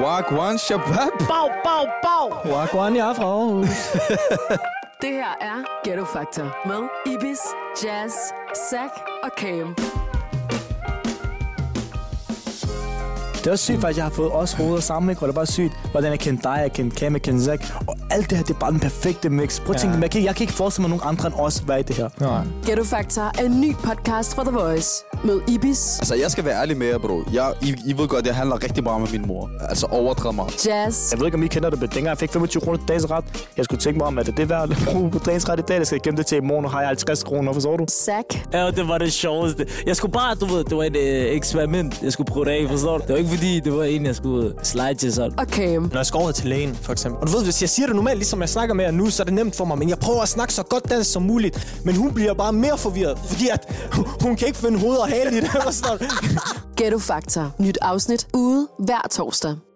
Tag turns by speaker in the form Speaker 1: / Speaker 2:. Speaker 1: Wagwan Shabab.
Speaker 2: Bag, bag, bag.
Speaker 3: Wagwan, jeg er fra Aarhus.
Speaker 4: Det her er Ghetto Factor med Ibis, Jazz, Zack og Cam.
Speaker 3: Det er også sygt, faktisk, jeg har fået os hoveder sammen, ikke? Og det er bare sygt, hvordan jeg kendte dig, jeg kendte Cam, jeg kendte Zack. Og alt det her, det er bare den perfekte mix. Prøv at tænke,
Speaker 1: Ja.
Speaker 3: jeg kan, jeg kan ikke forestille mig nogen andre end os være i det her.
Speaker 1: Nej.
Speaker 4: Ghetto Factor er en ny podcast fra The Voice. Mød Ibis,
Speaker 1: Altså, jeg skal være ærlig med jer, bro. Jeg, I, I ved godt, jeg handler rigtig meget med min mor. Altså, overdrevet meget.
Speaker 4: Jazz
Speaker 3: Jeg ved ikke, om I kender det, men dengang jeg fik 25 kroner til dagens ret, jeg skulle tænke mig om, at det er det værd at bruge på dagens ret i dag, jeg skal gemme det til i morgen, og har jeg 50 kroner, forstår du?
Speaker 4: Zack
Speaker 2: Ja, det var det sjoveste. Jeg skulle bare, du ved, det var et øh, eksperiment, jeg skulle prøve det af, forstår du? Det var ikke fordi, det var en, jeg skulle slide til sådan.
Speaker 4: og Cam.
Speaker 5: Når jeg skal over til lægen, for eksempel. Og du ved, hvis jeg siger det normalt, ligesom jeg snakker med jer nu, så er det nemt for mig. Men jeg prøver at snakke så godt dansk som muligt. Men hun bliver bare mere forvirret, fordi at hun kan ikke finde hoved og hale i det. forstår du?
Speaker 4: Ghetto Factor. Nyt afsnit ude hver torsdag.